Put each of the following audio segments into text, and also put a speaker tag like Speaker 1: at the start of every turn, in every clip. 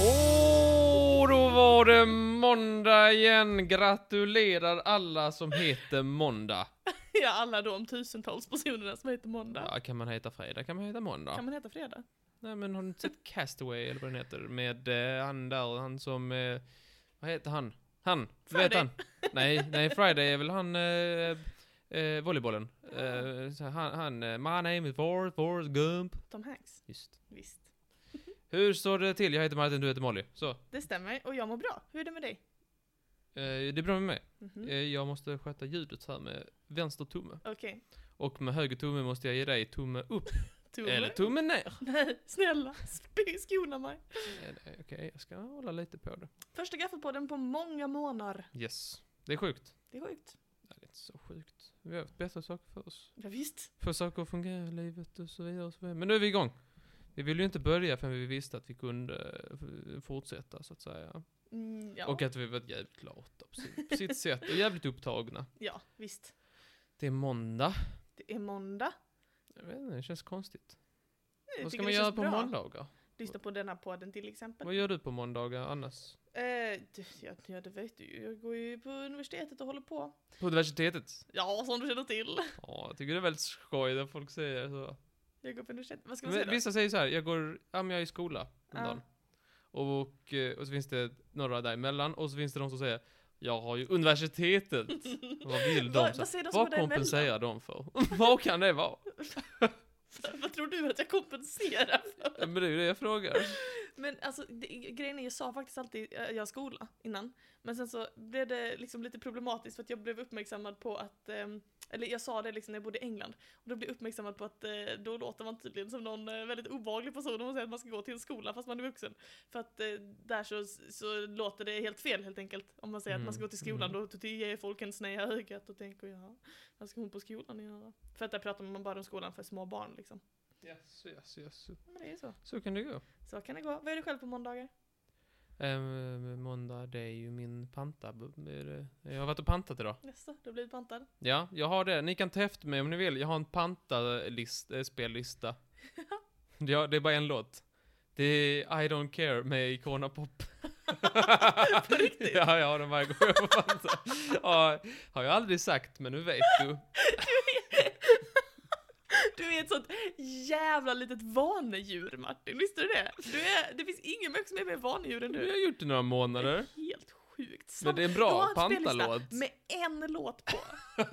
Speaker 1: Åh, då var det måndag igen! Gratulerar alla som heter måndag.
Speaker 2: Ja, alla de tusentals personerna som heter Måndag.
Speaker 1: Ja, kan man heta fredag kan man heta måndag.
Speaker 2: Kan man heta Fredag?
Speaker 1: Nej men har du inte sett Castaway eller vad den heter? Med eh, han där, han som... Eh, vad heter han? Han! Du vet
Speaker 2: Friday.
Speaker 1: han? Nej, nej Friday är väl han... Eh, eh, volleybollen. Eh, så han, han eh, My name is Forrest, Forrest Gump.
Speaker 2: Tom Hanks?
Speaker 1: Just.
Speaker 2: Visst.
Speaker 1: Hur står det till? Jag heter Martin, du heter Molly. Så. Eh,
Speaker 2: Det stämmer, och jag mår bra. Hur är det med dig?
Speaker 1: det är bra med mig.
Speaker 2: Mhm.
Speaker 1: Eh, jag måste sköta ljudet här med vänster tumme.
Speaker 2: Okej.
Speaker 1: Och med höger tumme måste jag ge dig tumme upp.
Speaker 2: Tumme?
Speaker 1: Eller tumme ner.
Speaker 2: Nej, snälla. sp- Skona mig.
Speaker 1: Eh, Okej, jag ska hålla lite på det.
Speaker 2: Första gaffelpodden på många månader.
Speaker 1: Yes. Det är sjukt.
Speaker 2: Det är sjukt.
Speaker 1: Nej, det är inte så sjukt. Vi har haft bättra saker för oss.
Speaker 2: Ja, visst.
Speaker 1: Få saker att fungera i livet och så vidare. Och så vidare. Men nu är vi igång. Vi ville ju inte börja förrän vi visste att vi kunde eh, fortsätta så att säga.
Speaker 2: Mm, ja.
Speaker 1: Och att vi var jävligt lata på sitt, på sitt sätt och jävligt upptagna.
Speaker 2: ja, visst.
Speaker 1: Det är måndag.
Speaker 2: Det är måndag.
Speaker 1: Jag vet inte, det känns konstigt.
Speaker 2: Jag
Speaker 1: Vad ska
Speaker 2: tycker
Speaker 1: man
Speaker 2: det
Speaker 1: göra
Speaker 2: känns
Speaker 1: på
Speaker 2: bra.
Speaker 1: måndagar?
Speaker 2: Lyssna på denna podden till exempel.
Speaker 1: Vad gör du på måndagar annars?
Speaker 2: Eh, det- ja, ja, det vet du ju. Jag går ju på universitetet och håller på.
Speaker 1: På universitetet?
Speaker 2: Ja, som du känner till.
Speaker 1: Ja, jag tycker det är väldigt skoj när folk säger så.
Speaker 2: Jag går på universitetet. Vad ska man säga
Speaker 1: Men,
Speaker 2: då?
Speaker 1: vissa säger så här, jag går, ja men jag är i skola om
Speaker 2: Ja.
Speaker 1: dagen. Och, och, eh, och så finns det några däremellan, och så finns det de som säger, jag har ju universitetet. vad vill de?
Speaker 2: Vad-
Speaker 1: säga?
Speaker 2: vad säger de som är
Speaker 1: vad
Speaker 2: däremellan?
Speaker 1: kompenserar de för? vad kan det vara?
Speaker 2: Vad tror du att jag kompenserar för?
Speaker 1: Ja, Men det är ju det jag frågar.
Speaker 2: Men alltså det, grejen är, jag sa faktiskt alltid eh, jag har skola innan. Men sen så blev det liksom lite problematiskt för att jag blev uppmärksammad på att, ehm, eller jag sa det liksom när jag bodde i England. Och då blev jag uppmärksammad på att eh, då låter man tydligen som någon eh, väldigt obehaglig person om man säger att man ska gå till en skola fast man är vuxen. För att eh, där så, så låter det helt fel helt enkelt. Om man säger att man ska gå till
Speaker 1: Mm,
Speaker 2: skolan då, då ger folk en snea ögat och tänker ja, vad ska hon på skolan göra? För att där pratar man bara om skolan för små barn liksom.
Speaker 1: Yes, yes, yes.
Speaker 2: Men det är ju så.
Speaker 1: Så kan det gå.
Speaker 2: Så kan det gå. Vad är du själv på måndagar?
Speaker 1: Ehm, måndag, det är ju min panta. är det- Jag har varit och pantat idag.
Speaker 2: Nästa, då blir du pantad.
Speaker 1: Ja, jag har det. Ni kan ta efter mig om ni vill. Jag har en Panta-spellista. ja, det är bara en låt. Det är I Don't Care med Icona Pop.
Speaker 2: På riktigt?
Speaker 1: ja, jag har den varje gång jag får Panta. ja, har jag aldrig sagt, men nu vet du.
Speaker 2: Du är ett sånt jävla litet vanedjur Martin, visste du det? Du är, det finns ingen människa som är mer vanedjur än
Speaker 1: Nu har
Speaker 2: du.
Speaker 1: jag gjort det några månader.
Speaker 2: Helt sjukt. Sam-
Speaker 1: Men det är en
Speaker 2: Du har
Speaker 1: bra
Speaker 2: en
Speaker 1: Panta-låt.
Speaker 2: spellista Med en låt på.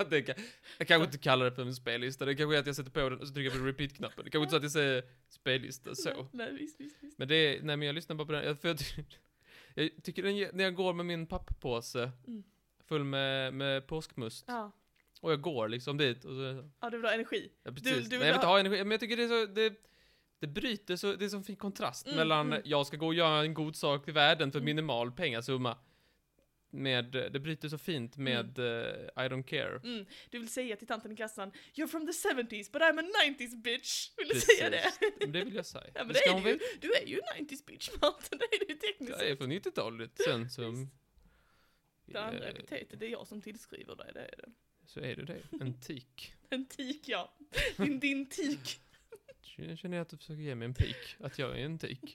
Speaker 1: det kan, jag kanske inte kallar det för en spellista. Det kanske är att jag sätter på den och så trycker jag på repeat-knappen. Det kanske inte är så att jag säger spellista så.
Speaker 2: Nej, visst, visst, visst.
Speaker 1: Men det är, nej men jag lyssnar bara på den, jag, för jag, ty- jag tycker den, ge- när jag går med min papppåse
Speaker 2: Mm.
Speaker 1: full med, med påskmust
Speaker 2: Ja.
Speaker 1: och jag går liksom dit och så,
Speaker 2: ja, du vill ha energi.
Speaker 1: ja, precis. nej, jag
Speaker 2: du vill
Speaker 1: vill inte
Speaker 2: ha-
Speaker 1: ha energi, men jag tycker det är så, det, det bryter så, det är sån fin kontrast
Speaker 2: Mm,
Speaker 1: mellan
Speaker 2: mm.
Speaker 1: jag ska gå och göra en god sak i världen för
Speaker 2: Mm.
Speaker 1: minimal pengasumma med, det bryter så fint med eh, I don't care.
Speaker 2: Mm. Du vill säga till tanten i kassan You're from the 70s but I'm a 90s bitch. Vill du säga det?
Speaker 1: Men det vill jag säga.
Speaker 2: Ja, men
Speaker 1: Det
Speaker 2: det
Speaker 1: ska
Speaker 2: är
Speaker 1: hon
Speaker 2: du,
Speaker 1: veta.
Speaker 2: ju. du är ju 90s bitch Martin, det är du tekniskt
Speaker 1: Jag är från 90-talet sen som...
Speaker 2: Visst. Det andra
Speaker 1: Eh,
Speaker 2: epitetet, det är jag som tillskriver dig, det är det.
Speaker 1: Så är du det, en tik.
Speaker 2: En tik ja. Din, din tik.
Speaker 1: Jag känner att du försöker ge mig en pik, att jag är en tik.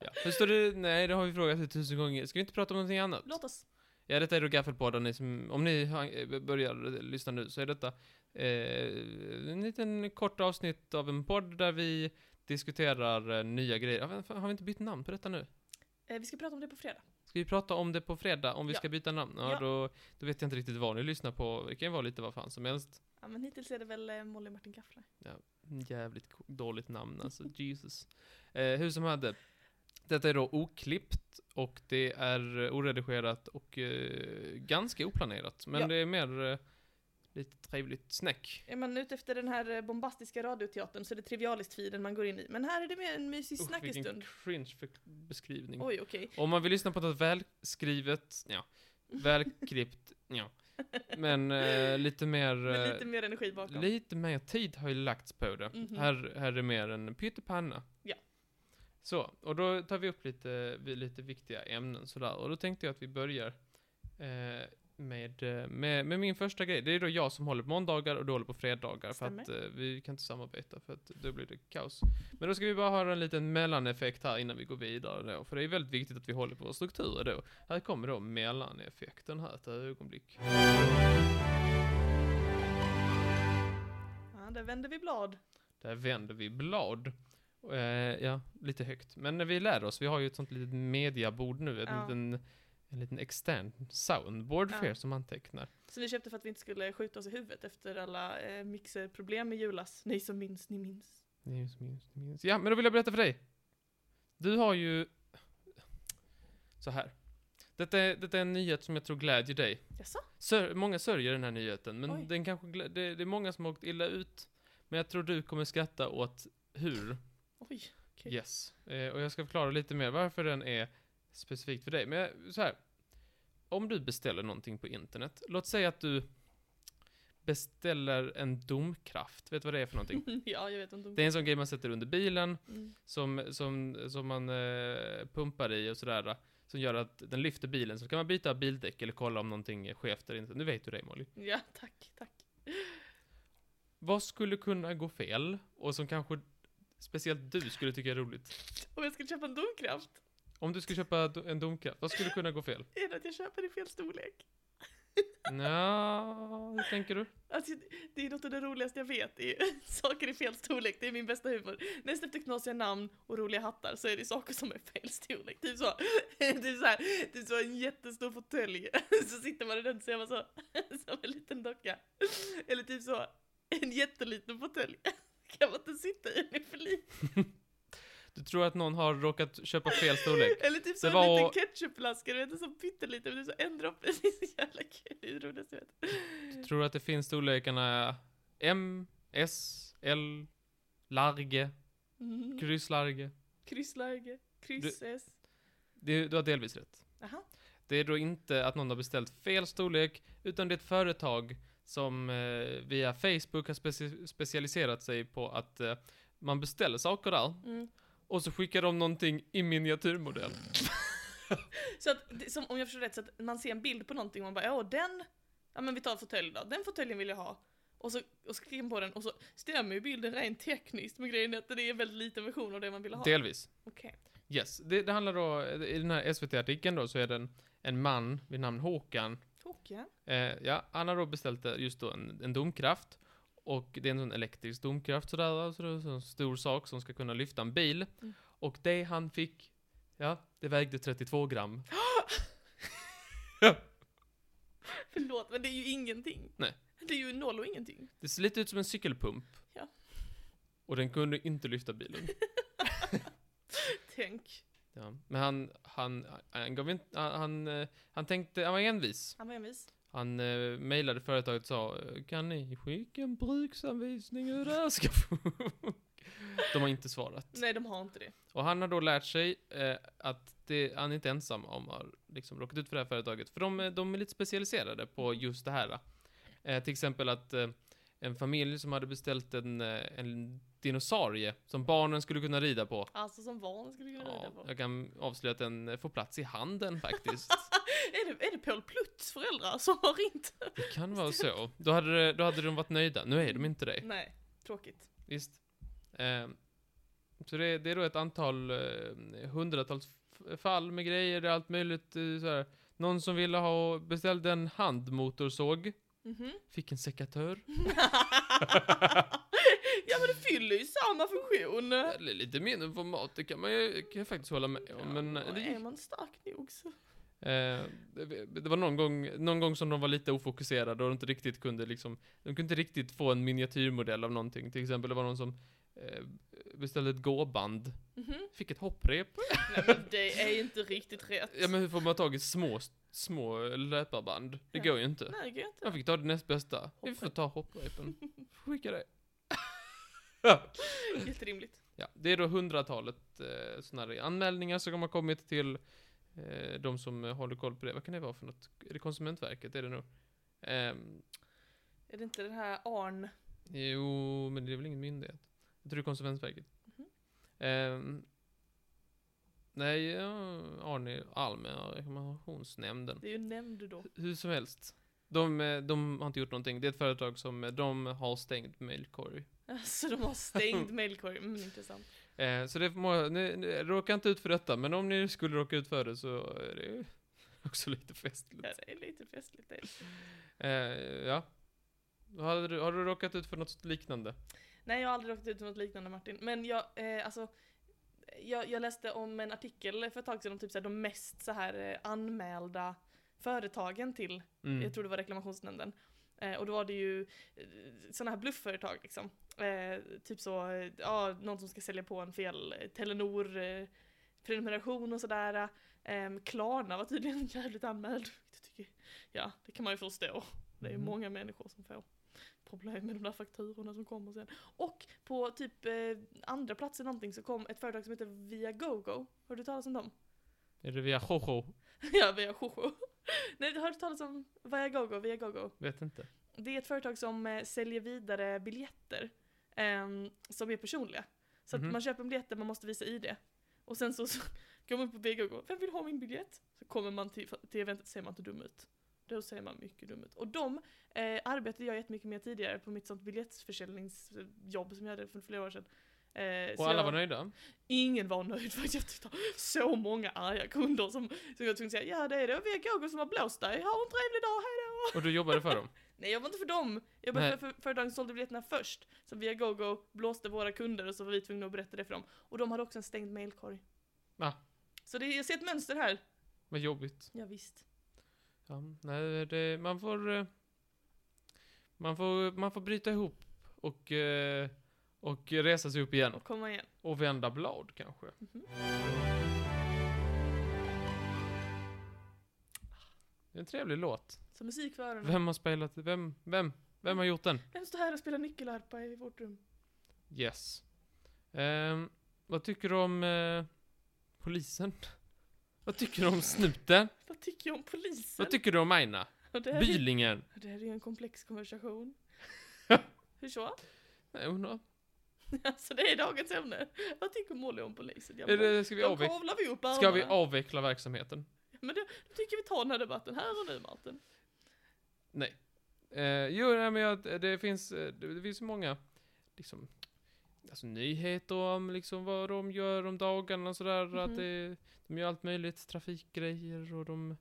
Speaker 1: ja. Förstår du? Nej, det har vi frågat dig tusen gånger. Ska vi inte prata om någonting annat?
Speaker 2: Låt oss.
Speaker 1: Ja, detta är då Gaffelpodden. Ni som- Om ni har- eh, börjar lyssna nu så är detta eh, en liten kort avsnitt av en podd där vi diskuterar eh, nya grejer. Ja, vad fan, Har vi inte bytt namn på detta nu?
Speaker 2: Eh, vi ska prata om det på fredag.
Speaker 1: Ska vi prata om det på fredag, om vi
Speaker 2: Ja.
Speaker 1: ska byta namn? Ja,
Speaker 2: Ja.
Speaker 1: Då, då vet jag inte riktigt vad ni lyssnar på. Det kan ju vara lite vad fan som helst.
Speaker 2: Ja, men hittills är det väl eh, Molly och Martin Gaffler.
Speaker 1: Jävligt ko- dåligt namn alltså, Jesus. Eh, hur som hade. Detta är då oklippt och det är eh, oredigerat och eh, ganska oplanerat. Men
Speaker 2: Ja.
Speaker 1: det är mer eh, lite trevligt snack.
Speaker 2: Är man ute efter den här eh, bombastiska radioteatern så är det trivialist-feeden man går in i. Men här är det mer en mysig
Speaker 1: Usch, vilken
Speaker 2: snackestund.
Speaker 1: cringe för beskrivning.
Speaker 2: Oj, okej.
Speaker 1: Om man vill lyssna på något välskrivet, ja, välklippt, ja. Men eh, lite mer...
Speaker 2: Med
Speaker 1: eh,
Speaker 2: lite mer energi bakom.
Speaker 1: Lite mer tid har ju lagts på det.
Speaker 2: Mhm.
Speaker 1: Här, här är mer en pyttipanna.
Speaker 2: Ja.
Speaker 1: Så, och då tar vi upp lite, vi- lite viktiga ämnen sådär. Och då tänkte jag att vi börjar eh, med, eh, med, med min första grej. Det är då jag som håller på måndagar och du håller på fredagar
Speaker 2: Stämmer.
Speaker 1: för att eh, vi kan inte samarbeta för att då blir det kaos. Men då ska vi bara ha en liten mellaneffekt här innan vi går vidare då, för det är väldigt viktigt att vi håller på våra strukturer då. Här kommer då mellaneffekten här, ett ögonblick.
Speaker 2: Ja, där vänder vi blad.
Speaker 1: Där vänder vi blad. Eh, ja, lite högt. Men när vi lär oss, vi har ju ett sånt litet mediabord nu, en,
Speaker 2: Ja.
Speaker 1: liten, en liten extern soundboard för
Speaker 2: Ja.
Speaker 1: er som antecknar.
Speaker 2: Som vi köpte för att vi inte skulle skjuta oss i huvudet efter alla eh, mixerproblem i julas. Ni som minns, ni minns.
Speaker 1: Ni minns, ni minns, ni minns. Ja, men då vill jag berätta för dig. Du har ju... Så här. Detta är, detta är en nyhet som jag tror glädjer dig.
Speaker 2: Jaså?
Speaker 1: Sör, många sörjer den här nyheten, men
Speaker 2: Oj.
Speaker 1: den kanske glä, det, det är många som har åkt illa ut. Men jag tror du kommer skratta åt hur.
Speaker 2: Oj. Okej.
Speaker 1: Yes. Eh, och jag ska förklara lite mer varför den är specifikt för dig. Men jag- så här. Om du beställer någonting på internet. Låt säga att du beställer en domkraft. Vet du vad det är för någonting?
Speaker 2: ja, jag vet inte. om-
Speaker 1: Det är en sån grej man sätter under bilen
Speaker 2: Mm.
Speaker 1: som, som, som man eh, pumpar i och sådär. Som gör att den lyfter bilen. Så kan man byta bildäck eller kolla om någonting är skevt eller inte. Nu vet du det Molly.
Speaker 2: Ja, tack, tack.
Speaker 1: Vad skulle kunna gå fel? Och som kanske speciellt du skulle tycka är roligt.
Speaker 2: Om jag skulle köpa en domkraft,
Speaker 1: Om du skulle köpa do- en domkraft, vad skulle kunna gå fel?
Speaker 2: är det att jag köper i fel storlek?
Speaker 1: Nja, hur tänker du?
Speaker 2: Alltså, det är något av det roligaste jag vet. Är ju saker i fel storlek, det är min bästa humor. Näst efter knasiga namn och roliga hattar så är det saker som är fel storlek. Typ så, typ så här, typ så en jättestor fåtölj. Så sitter man i den så är man så, som en liten docka. Eller typ så, en jätteliten fåtölj. Kan man inte sitta i, den är för liten.
Speaker 1: Du tror att någon har råkat köpa fel storlek?
Speaker 2: Eller typ så
Speaker 1: Det
Speaker 2: en
Speaker 1: var-
Speaker 2: liten ketchupflaska, du vet en sån pytteliten, men det är så en droppe. Det är så jävla kul, det är det roligaste jag vet.
Speaker 1: Du tror att det finns storlekarna M, S, L, large,
Speaker 2: Mm.
Speaker 1: krysslarge?
Speaker 2: Kryssläge, kryss-S.
Speaker 1: Det, du har delvis rätt.
Speaker 2: Aha.
Speaker 1: Det är då inte att någon har beställt fel storlek, utan det är ett företag som eh, via Facebook har speci- specialiserat sig på att eh, man beställer saker där,
Speaker 2: Mm.
Speaker 1: och så skickar de någonting i miniatyrmodell.
Speaker 2: Så att, det- som, om jag förstår rätt, så att man ser en bild på någonting och man bara åh den, ja men vi tar en fåtölj då, den fåtöljen vill jag ha. Och så, och så klickar man på den och så stämmer ju bilden rent tekniskt men grejen är att det är en väldigt liten version av det man vill ha.
Speaker 1: Delvis.
Speaker 2: Okej.
Speaker 1: Yes, det, det handlar då, i den här SVT-artikeln då, så är det en, en man vid namn Håkan.
Speaker 2: Tråkiga.
Speaker 1: Eh, ja, han har då beställt eh, just då en, en domkraft. Och det är en sån elektrisk domkraft sådär, så det är en sån stor sak som ska kunna lyfta en bil.
Speaker 2: Mm.
Speaker 1: Och det han fick, ja, det vägde 32 gram.
Speaker 2: Förlåt men det är ju ingenting.
Speaker 1: Nej.
Speaker 2: Det är ju noll och ingenting.
Speaker 1: Det ser lite ut som en cykelpump.
Speaker 2: Ja.
Speaker 1: Och den kunde inte lyfta bilen.
Speaker 2: Tänk.
Speaker 1: Ja. Men han, han, han gav inte, han, han, eh, han tänkte, han var envis.
Speaker 2: Han var envis.
Speaker 1: Han eh, mejlade företaget och sa Kan ni skicka en bruksanvisning hur det här ska funka? De har inte svarat.
Speaker 2: Nej de har inte det.
Speaker 1: Och han har då lärt sig eh, att det, han är inte ensam om att ha liksom, råkat ut för det här företaget. För de, är- de är lite specialiserade på just det här. Eh, till exempel att eh, en familj som hade beställt en, eh, en dinosaurie som barnen skulle kunna rida på.
Speaker 2: Alltså som van skulle kunna rida
Speaker 1: Ja,
Speaker 2: på.
Speaker 1: jag kan avslöja att den eh, får plats i handen faktiskt.
Speaker 2: Är det, är det Paul Plutts föräldrar som har ringt?
Speaker 1: Det kan vara så. Då hade, det- då hade de varit nöjda. Nu är de inte det.
Speaker 2: Nej, tråkigt.
Speaker 1: Visst. Eh, så det, det är då ett antal eh, hundratals f- fall med grejer, det är allt möjligt. Eh, så här. Någon som ville ha beställd en handmotorsåg
Speaker 2: Mhm.
Speaker 1: fick en sekatör.
Speaker 2: ja men det fyller ju samma funktion.
Speaker 1: Eller lite mindre format, det kan man ju kan jag faktiskt hålla med om. Men eh,
Speaker 2: ja,
Speaker 1: det, gick.
Speaker 2: är man stark nog så.
Speaker 1: eh, det, det var någon gång, någon gång som de var lite ofokuserade och inte riktigt kunde liksom, de kunde inte riktigt få en miniatyrmodell av någonting. Till exempel det var någon som eh, beställde ett gåband,
Speaker 2: Mhm.
Speaker 1: fick ett hopprep.
Speaker 2: Nej men det är inte riktigt rätt.
Speaker 1: Ja men hur får man tag i små, små löparband? Det
Speaker 2: Ja.
Speaker 1: går ju inte.
Speaker 2: Nej det går inte.
Speaker 1: Jag fick ta det näst bästa. Vi får ta hopprepen. Skicka det.
Speaker 2: Jätterimligt.
Speaker 1: Ja, det är då hundratalet eh, sådana här anmälningar som har kommit till eh, de som eh, håller koll på det. Vad kan det vara för något? Är det Konsumentverket? Är det nog? Ehm,
Speaker 2: Är det inte den här Arn?
Speaker 1: jo, men det är väl ingen myndighet? Jag tror det är Konsumentverket.
Speaker 2: Mhm.
Speaker 1: Ehm, Nej, ja, Arne Allmänna reklamationsnämnden.
Speaker 2: Det är ju nämnd då.
Speaker 1: Hur som helst. De, eh, de har inte gjort någonting. Det är ett företag som eh, de har stängt mejlkorg.
Speaker 2: Så de har stängd mailkorg. Mm, intressant.
Speaker 1: Eh, så det må, ni, ni, råka inte ut för detta, men om ni skulle råka ut för det så är det ju också lite festligt.
Speaker 2: Ja, det är lite festligt. Det är det.
Speaker 1: Eh, ja. Har du, har du råkat ut för något liknande?
Speaker 2: Nej, jag har aldrig råkat ut för något liknande Martin. Men jag, eh, alltså, jag, jag läste om en artikel för ett tag sedan om typ så här, de mest så här eh, anmälda företagen till
Speaker 1: Mm.
Speaker 2: jag tror det var reklamationsnämnden. Eh, och då var det ju sådana här bluffföretag liksom. Eh, typ så, eh, ja, någon som ska sälja på en fel eh, Telenor eh, prenumeration och sådär. Eh, Klarna var tydligen jävligt anmäld. Det tycker, ja, det kan man ju förstå. Det är
Speaker 1: Mm.
Speaker 2: många människor som får problem med de där fakturorna som kommer sen. Och på typ eh, andra platser någonting så kom ett företag som heter Viagogo. Har du talat om dem?
Speaker 1: Är det via Jojo?
Speaker 2: ja, via Jojo. Nej, har du talat om Viagogo? Viagogo?
Speaker 1: Vet inte.
Speaker 2: Det är ett företag som eh, säljer vidare biljetter ehm, som är personliga. Så
Speaker 1: Mhm.
Speaker 2: att man köper en biljett där man måste visa ID. Och sen så, så går man på BG och går, vem vill ha min biljett? Så kommer man till, till eventet ser man inte dum ut. Då ser man mycket dum ut. Och de eh, arbetade jag jättemycket med tidigare på mitt sånt biljettförsäljningsjobb som jag hade för flera år sedan. Eh, så
Speaker 1: Och alla
Speaker 2: jag-
Speaker 1: var nöjda?
Speaker 2: Ingen var nöjd för att jag tyckte så många arga kunder som, som jag tvungen säga ja det är det VGG som har blåst dig, ha en trevlig dag, hejdå!
Speaker 1: Och du jobbade för dem?
Speaker 2: Nej jag var inte för dem! Jag jobbade
Speaker 1: Nej.
Speaker 2: för för företagen som sålde biljetterna först. Så via GoGo blåste våra kunder och så var vi tvungna att berätta det för dem. Och de hade också en stängd mailkorg.
Speaker 1: Ah.
Speaker 2: Så det, jag ser ett mönster här.
Speaker 1: Vad jobbigt.
Speaker 2: Ja, visst.
Speaker 1: Ja, nej, det, man får... eh, Man får, man får bryta ihop och, eh, och resa sig upp igen.
Speaker 2: Och komma igen.
Speaker 1: Och vända blad kanske.
Speaker 2: Mhm.
Speaker 1: Det är en trevlig låt.
Speaker 2: Så musik för öronen. Vem?
Speaker 1: Vem har spelat Vem? Vem? Vem har gjort den?
Speaker 2: står här och spelar nyckelharpa i vårt rum?
Speaker 1: Yes. Ehm, vad tycker du om eh, polisen? Vad tycker du om snuten?
Speaker 2: Vad tycker jag om polisen?
Speaker 1: Vad tycker du om Aina?
Speaker 2: och det, här är,
Speaker 1: Bylingen?
Speaker 2: och det här är ju en komplex konversation. Hur så?
Speaker 1: Nej, jag undrar.
Speaker 2: Alltså det är dagens ämne. Vad tycker Molly om polisen? Jag
Speaker 1: Är
Speaker 2: bara,
Speaker 1: det, ska, vi
Speaker 2: då
Speaker 1: avveckla,
Speaker 2: kavlar vi upp
Speaker 1: ska vi
Speaker 2: ärmarna.
Speaker 1: avveckla verksamheten?
Speaker 2: Men då, då tycker vi tar den här debatten här och nu Martin.
Speaker 1: Eh, jo, nej, men jag, det finns, eh, det, det finns ju många, liksom, alltså nyheter om liksom vad de gör om dagarna och sådär, att
Speaker 2: Mhm.
Speaker 1: det, de gör allt möjligt, trafikgrejer och de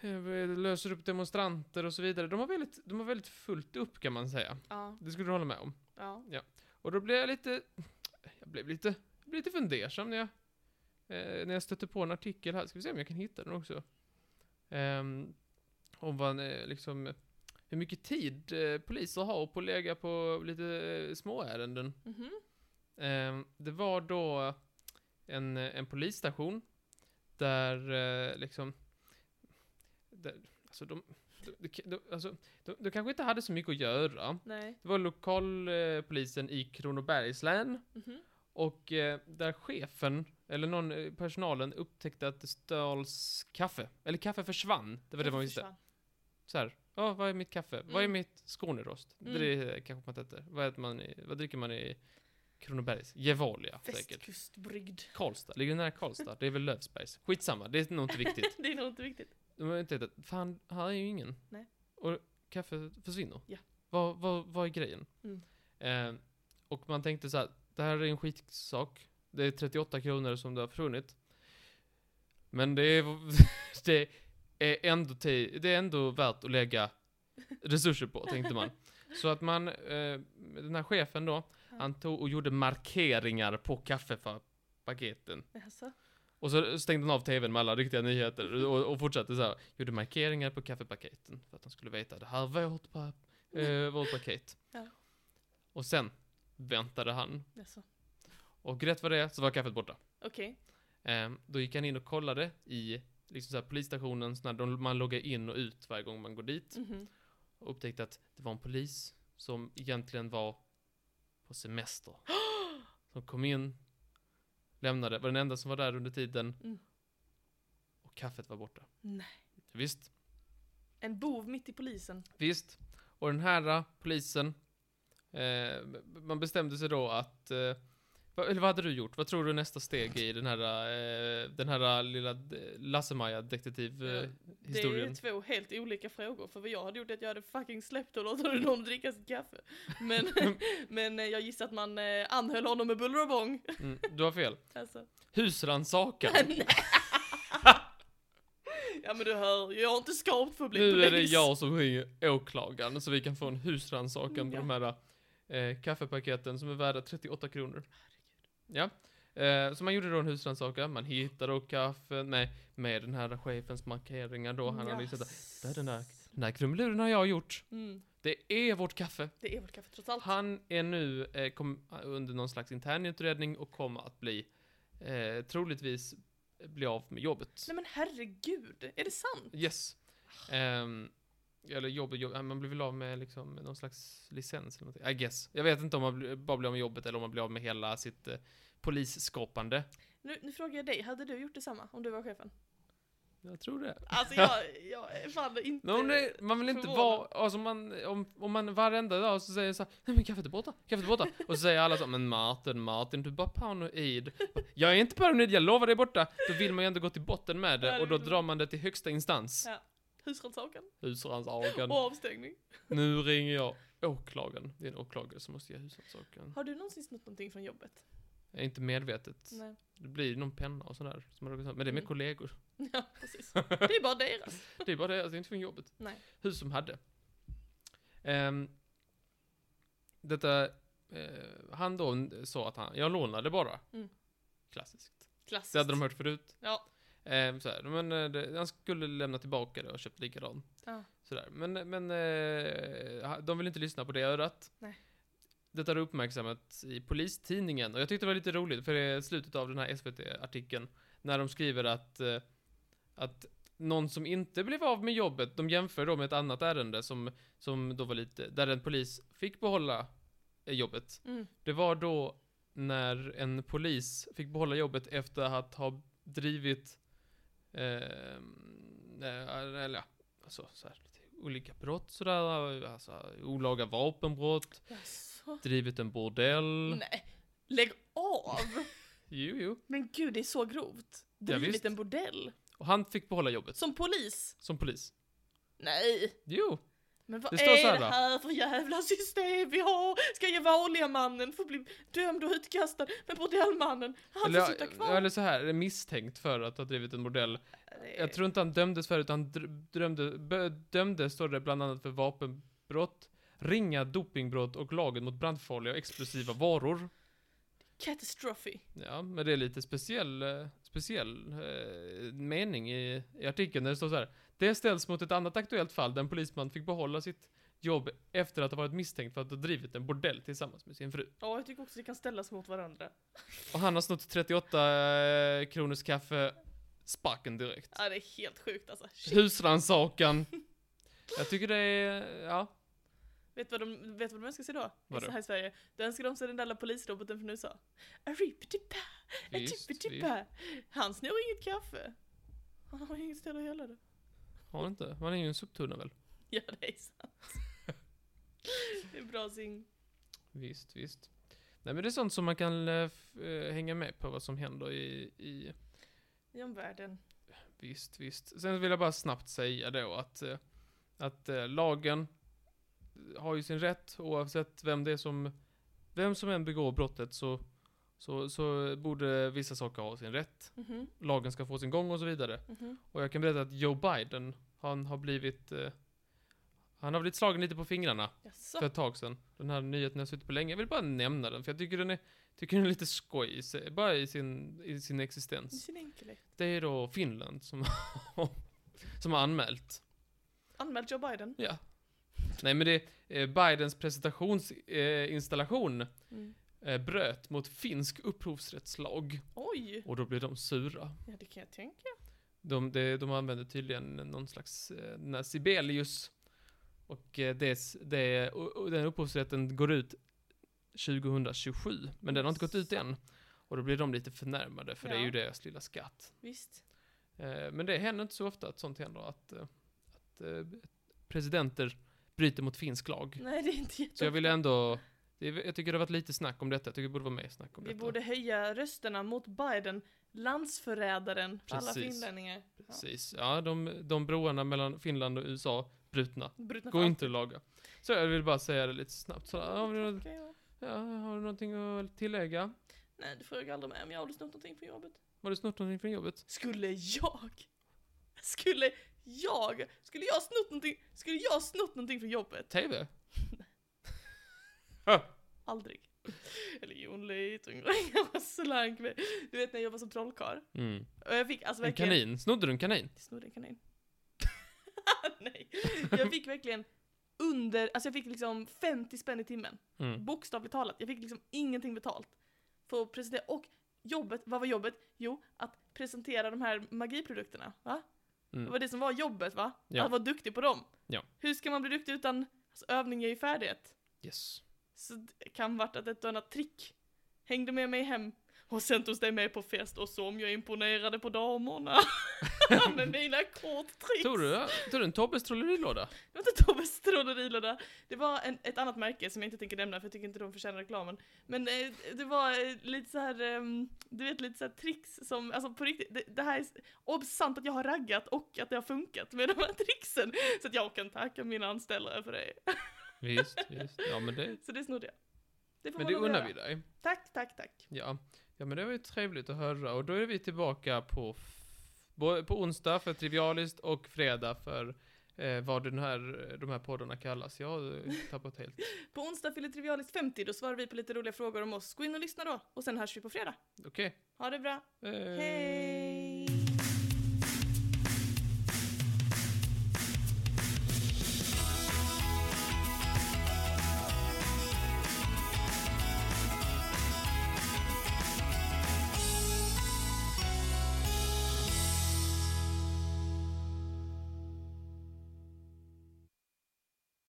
Speaker 1: eh, löser upp demonstranter och så vidare. De har väldigt, de har väldigt fullt upp kan man säga.
Speaker 2: Ja,
Speaker 1: Det skulle du hålla med om.
Speaker 2: ja.
Speaker 1: Och då blev jag lite, jag blev lite, jag blev lite fundersam när jag, eh, när jag stötte på en artikel här, ska vi se om jag kan hitta den också. Ehm, om vad, eh, liksom, eh, hur mycket tid eh, poliser har på att lägga på lite eh, småärenden.
Speaker 2: Mhm.
Speaker 1: Ehm, det var då en, en polisstation där eh, liksom, där, alltså de, de, de, de, alltså, de, de kanske inte hade så mycket att göra.
Speaker 2: Nej.
Speaker 1: Det var lokalpolisen eh, polisen i Kronobergs län
Speaker 2: Mhm.
Speaker 1: och eh, där chefen, eller någon eh, personalen, upptäckte att det stals kaffe. Eller kaffe försvann. Det var det man visste.
Speaker 2: försvann.
Speaker 1: Så här, ja, vad är mitt kaffe? Vad är
Speaker 2: Mm.
Speaker 1: mitt Skånerost?
Speaker 2: Mm.
Speaker 1: Det är, eh, kanske man inte äter. Vad, äter man i, vad dricker man i Kronobergs? Gevalia, säkert.
Speaker 2: Västkustbrygd.
Speaker 1: Karlstad, ligger det nära Karlstad? Det är väl Lövsbergs? Skitsamma, det är nog inte viktigt.
Speaker 2: det är nog inte viktigt.
Speaker 1: De har inte ätit. Fan, här är ju ingen.
Speaker 2: Nej.
Speaker 1: Och kaffet försvinner.
Speaker 2: Ja.
Speaker 1: Vad, vad, vad är grejen?
Speaker 2: Mm.
Speaker 1: Eh, och man tänkte så här, det här är en skitsak. Det är 38 kronor som det har försvunnit. Men det är, det är, ändå, ti- det är ändå värt att lägga resurser på, tänkte man. Så att man, eh, den här chefen då, han tog och gjorde markeringar på kaffepaketen.
Speaker 2: Jaså?
Speaker 1: Och så stängde han av tvn med alla riktiga nyheter och, och fortsatte så här. Gjorde markeringar på kaffepaketen för att de skulle veta det här var vårt, pa- eh, vårt paket.
Speaker 2: Ja.
Speaker 1: Och sen väntade han.
Speaker 2: Jaså?
Speaker 1: Och rätt vad det är så var kaffet borta.
Speaker 2: Okej.
Speaker 1: Ehm, då gick han in och kollade i liksom så här, polisstationen så när de, man loggar in och ut varje gång man går dit.
Speaker 2: Mhm.
Speaker 1: Och upptäckte att det var en polis som egentligen var på semester. Som kom in, lämnade, var den enda som var där under tiden.
Speaker 2: Mm.
Speaker 1: Och kaffet var borta.
Speaker 2: Nej.
Speaker 1: Visst,
Speaker 2: En bov mitt i polisen.
Speaker 1: visst. Och den här eh, polisen, eh, man bestämde sig då att eh, Va, eller vad hade du gjort? Vad tror du är nästa steg i den här, eh, den här lilla eh, d-
Speaker 2: Ja,
Speaker 1: Lasse-Maja-detektivhistorien?
Speaker 2: Det är två helt olika frågor, för vad jag hade gjort är att jag hade fucking släppt och låtit honom dricka sitt kaffe. Men, men eh, jag gissar att man eh, anhöll honom med buller och bång.
Speaker 1: Mm, du har fel.
Speaker 2: Alltså.
Speaker 1: Husrannsakan.
Speaker 2: Nej. ja men du hör, jag har inte skapat för att bli
Speaker 1: Nu
Speaker 2: polis.
Speaker 1: är det jag som ringer åklagaren så vi kan få en husrannsakan på
Speaker 2: Ja.
Speaker 1: de här eh, kaffepaketen som är värda 38 kronor. Ja. Eh, så man gjorde då en husrannsakan, man hittade då kaffe med, med den här chefens markeringar då. Han hade ju sett att
Speaker 2: Yes.
Speaker 1: "Det är den här, den här krumeluren har jag gjort.
Speaker 2: Mm,
Speaker 1: Det är vårt kaffe.
Speaker 2: det är väl kaffe trots allt.
Speaker 1: Han är nu eh, kom, under någon slags internutredning och kommer att bli eh, troligtvis bli av med jobbet.
Speaker 2: Nej men herregud, är det sant?
Speaker 1: Yes. Ehm, eller jobb, jobb, ja, man blir väl av med liksom någon slags licens eller någonting. I guess. Jag vet inte om man blir- bara blir av med jobbet eller om man blir av med hela sitt eh, polisskapande.
Speaker 2: Nu, nu frågar jag dig, hade du gjort detsamma om du var chefen?
Speaker 1: Jag tror det.
Speaker 2: Alltså jag, jag är fan inte...
Speaker 1: Men om det, man vill inte vara, alltså man, om, om man varenda dag så säger så här, nej men kaffet är borta, kaffet är borta. Och så säger alla så, men Martin, Martin, du är bara paranoid. Jag är inte paranoid, jag lovar, det är borta. Då vill man ju ändå gå till botten med
Speaker 2: Ja,
Speaker 1: det
Speaker 2: det
Speaker 1: och då
Speaker 2: vill man.
Speaker 1: drar man det till högsta instans.
Speaker 2: Ja. Husrannsakan
Speaker 1: Husrannsakan.
Speaker 2: och avstängning.
Speaker 1: Nu ringer jag åklagaren. Det är en åklagare som måste ge husrannsakan.
Speaker 2: Har du någonsin snott någonting från jobbet?
Speaker 1: Jag är inte medvetet.
Speaker 2: Nej. Det
Speaker 1: Det blir någon penna och sådär. Som har råkat sönder. Men det är med
Speaker 2: Mm.
Speaker 1: kollegor.
Speaker 2: Ja, precis. Det är bara deras.
Speaker 1: Det är bara det, alltså, det är inte från jobbet.
Speaker 2: Nej.
Speaker 1: Hur som hade. Ehm, detta, eh, han då n- sa att han, jag lånade bara.
Speaker 2: Mm.
Speaker 1: Klassiskt.
Speaker 2: Klassiskt.
Speaker 1: Det hade de hört förut.
Speaker 2: Ja.
Speaker 1: Ehm, så här, men eh, det, han skulle lämna tillbaka det och köpt likadan.
Speaker 2: Ja.
Speaker 1: Sådär. Men, men eh, ha- de vill inte lyssna på det örat.
Speaker 2: Nej.
Speaker 1: Detta har uppmärksammat i Polistidningen och jag tyckte det var lite roligt för det är slutet av den här SVT-artikeln när de skriver att, eh, att någon som inte blev av med jobbet, de jämför då med ett annat ärende som, som då var lite, där en polis fick behålla eh, jobbet.
Speaker 2: Mm.
Speaker 1: Det var då när en polis fick behålla jobbet efter att ha drivit, eh, eh, eller ja, alltså så här, lite olika brott sådär, alltså olaga vapenbrott,
Speaker 2: Jaså?
Speaker 1: drivit en bordell.
Speaker 2: Nej. Lägg av!
Speaker 1: Jo, jo.
Speaker 2: Men gud, det är så grovt. Drivit
Speaker 1: visst.
Speaker 2: en bordell.
Speaker 1: Och han fick behålla jobbet,
Speaker 2: Som polis?
Speaker 1: som polis.
Speaker 2: Nej.
Speaker 1: Jo,
Speaker 2: Men vad
Speaker 1: Det står
Speaker 2: är
Speaker 1: så här,
Speaker 2: det
Speaker 1: va?
Speaker 2: här för jävla system vi har? Ska ju vanliga mannen få bli dömd och utkastad, men bordellmannen, han får sitta kvar.
Speaker 1: eller, eller så här, är misstänkt för att ha drivit en bordell. Jag tror inte han dömdes för det, utan dr- drömde, bö, dömdes, står det bland annat för vapenbrott, ringa dopingbrott och lagen mot brandfarliga och explosiva varor.
Speaker 2: Catastrophe.
Speaker 1: Ja, men det är lite speciell, eh, speciell eh, mening i, i artikeln där det står så här. Det ställs mot ett annat aktuellt fall där en polisman fick behålla sitt jobb efter att ha varit misstänkt för att ha drivit en bordell tillsammans med sin fru.
Speaker 2: Ja, jag tycker också det kan ställas mot varandra.
Speaker 1: Och han har snott 38 eh, kronors kaffe, sparken direkt.
Speaker 2: Ja, det är helt sjukt alltså. Ah, Shit.
Speaker 1: Husrannsakan. Jag tycker det är, ja.
Speaker 2: Vet du vad de, vet du vad de önskar sig då?
Speaker 1: Vadå?
Speaker 2: Så här i Sverige. Då önskar de sig den där lilla polisroboten från USA. Arripitipa,
Speaker 1: Visst, vi
Speaker 2: arripitipa. Han snor inget kaffe. Han har inget ställe att hälla det.
Speaker 1: har inte. Man är ju en soptunna väl?
Speaker 2: Ja, det är sant. det är bra sing.
Speaker 1: Visst, visst. Nej men det är sånt som man kan eh, f- eh, hänga med på vad som händer i, i
Speaker 2: I omvärlden.
Speaker 1: Visst, visst. Sen vill jag bara snabbt säga då att, eh, att eh, lagen har ju sin rätt oavsett vem det är som, vem som än begår brottet så, så, så borde vissa saker ha sin rätt.
Speaker 2: Mhm,
Speaker 1: Lagen ska få sin gång och så vidare.
Speaker 2: mhm.
Speaker 1: Och jag kan berätta att Joe Biden, han har blivit, eh, han har blivit slagen lite på fingrarna
Speaker 2: Jaså?
Speaker 1: för ett tag sedan. Den här nyheten har suttit på länge. Jag vill bara nämna den för jag tycker den är, tycker den är lite skoj, i sig- bara i sin, i sin
Speaker 2: I
Speaker 1: existens.
Speaker 2: sin enkelhet.
Speaker 1: Det är då Finland som, som har anmält.
Speaker 2: Anmält Joe Biden.
Speaker 1: Ja. Nej men det, eh, Bidens presentationsinstallation
Speaker 2: Mm.
Speaker 1: eh, bröt mot finsk upphovsrättslag.
Speaker 2: Oj!
Speaker 1: Och då blev de sura.
Speaker 2: Ja, det kan jag tänka.
Speaker 1: De, de, de använde tydligen någon slags, eh, den här Sibelius. Och eh, det, det, och, och den upphovsrätten går ut 2027. Men den har inte gått ut än. Och då blir de lite förnärmade, för det är ju
Speaker 2: Ja.
Speaker 1: deras lilla skatt.
Speaker 2: Visst.
Speaker 1: Eh, Men det händer inte så ofta att sånt händer, att, eh, att eh, presidenter bryter mot finsk lag.
Speaker 2: Nej, det är inte
Speaker 1: Så jag
Speaker 2: jätte...
Speaker 1: vill ändå Det är, jag tycker det har varit lite snack om detta. Jag tycker det borde vara mer snack om
Speaker 2: Vi
Speaker 1: detta.
Speaker 2: borde höja rösterna mot Biden, landsförrädaren för alla
Speaker 1: Precis.
Speaker 2: finlänningar. Ja.
Speaker 1: Precis. Ja, de, de broarna mellan Finland och USA brutna.
Speaker 2: Brutna
Speaker 1: Går
Speaker 2: för
Speaker 1: inte att laga. Så jag vill bara säga det lite snabbt. Så,
Speaker 2: allt.
Speaker 1: ja, har, du, något-
Speaker 2: Okej, ja.
Speaker 1: ja, har du någonting att tillägga?
Speaker 2: Nej, du frågar aldrig mig om jag har snott någonting från jobbet.
Speaker 1: Har du snott någonting från jobbet?
Speaker 2: Skulle jag? Skulle jag? Skulle jag ha snott någonting? Skulle jag ha snott någonting från jobbet?
Speaker 1: TV?
Speaker 2: Aldrig. Eller jo, en liten grej. Jag var slank med. Du vet när jag jobbade som trollkarl.
Speaker 1: Mm.
Speaker 2: Och jag fick alltså
Speaker 1: En
Speaker 2: verkligen...
Speaker 1: kanin? Snodde du en kanin?
Speaker 2: Jag snodde en kanin. Nej. Jag fick verkligen under, alltså jag fick liksom 50 spänn i timmen.
Speaker 1: Mm.
Speaker 2: Bokstavligt talat. Jag fick liksom ingenting betalt. För att presentera, och jobbet, vad var jobbet? Jo, att presentera de här magiprodukterna. Va? Det
Speaker 1: Mm.
Speaker 2: var det som var jobbet va?
Speaker 1: Ja.
Speaker 2: Att vara duktig på dem.
Speaker 1: Ja.
Speaker 2: Hur ska man bli duktig utan alltså, övning är ju färdighet?
Speaker 1: Yes.
Speaker 2: Så det kan varit att ett och annat trick hängde med mig hem och sen togs det med på fest och som jag imponerade på damerna med mina korttricks.
Speaker 1: Tog du, tog du en Tobbes trollerilåda?
Speaker 2: Det var inte Tobbes tråderiloda. Det var en, ett annat märke som jag inte tänker nämna för jag tycker inte de förtjänar reklamen. Men eh, det var eh, lite så här, ehm, du vet lite så här tricks som, alltså på riktigt, det, det här är s- obs, sant att jag har raggat och att det har funkat med de här tricksen. Så att jag kan tacka mina anställare för det.
Speaker 1: Visst, visst. Ja, men det,
Speaker 2: Så det snodde jag. Det får
Speaker 1: men
Speaker 2: man
Speaker 1: det
Speaker 2: lov att
Speaker 1: unnar
Speaker 2: göra.
Speaker 1: vi dig.
Speaker 2: Tack, tack, tack.
Speaker 1: Ja. ja, men det var ju trevligt att höra. Och då är vi tillbaka på, f- bo- på onsdag för Trivialist och fredag för eh, vad den här, de här poddarna kallas. Jag har eh, tappat helt.
Speaker 2: På onsdag fyller Trivialist 50, då svarar vi på lite roliga frågor om oss. Gå in och lyssna då, och sen hörs vi på fredag.
Speaker 1: Okej.
Speaker 2: Ha det bra.
Speaker 1: Eh,
Speaker 2: Hej!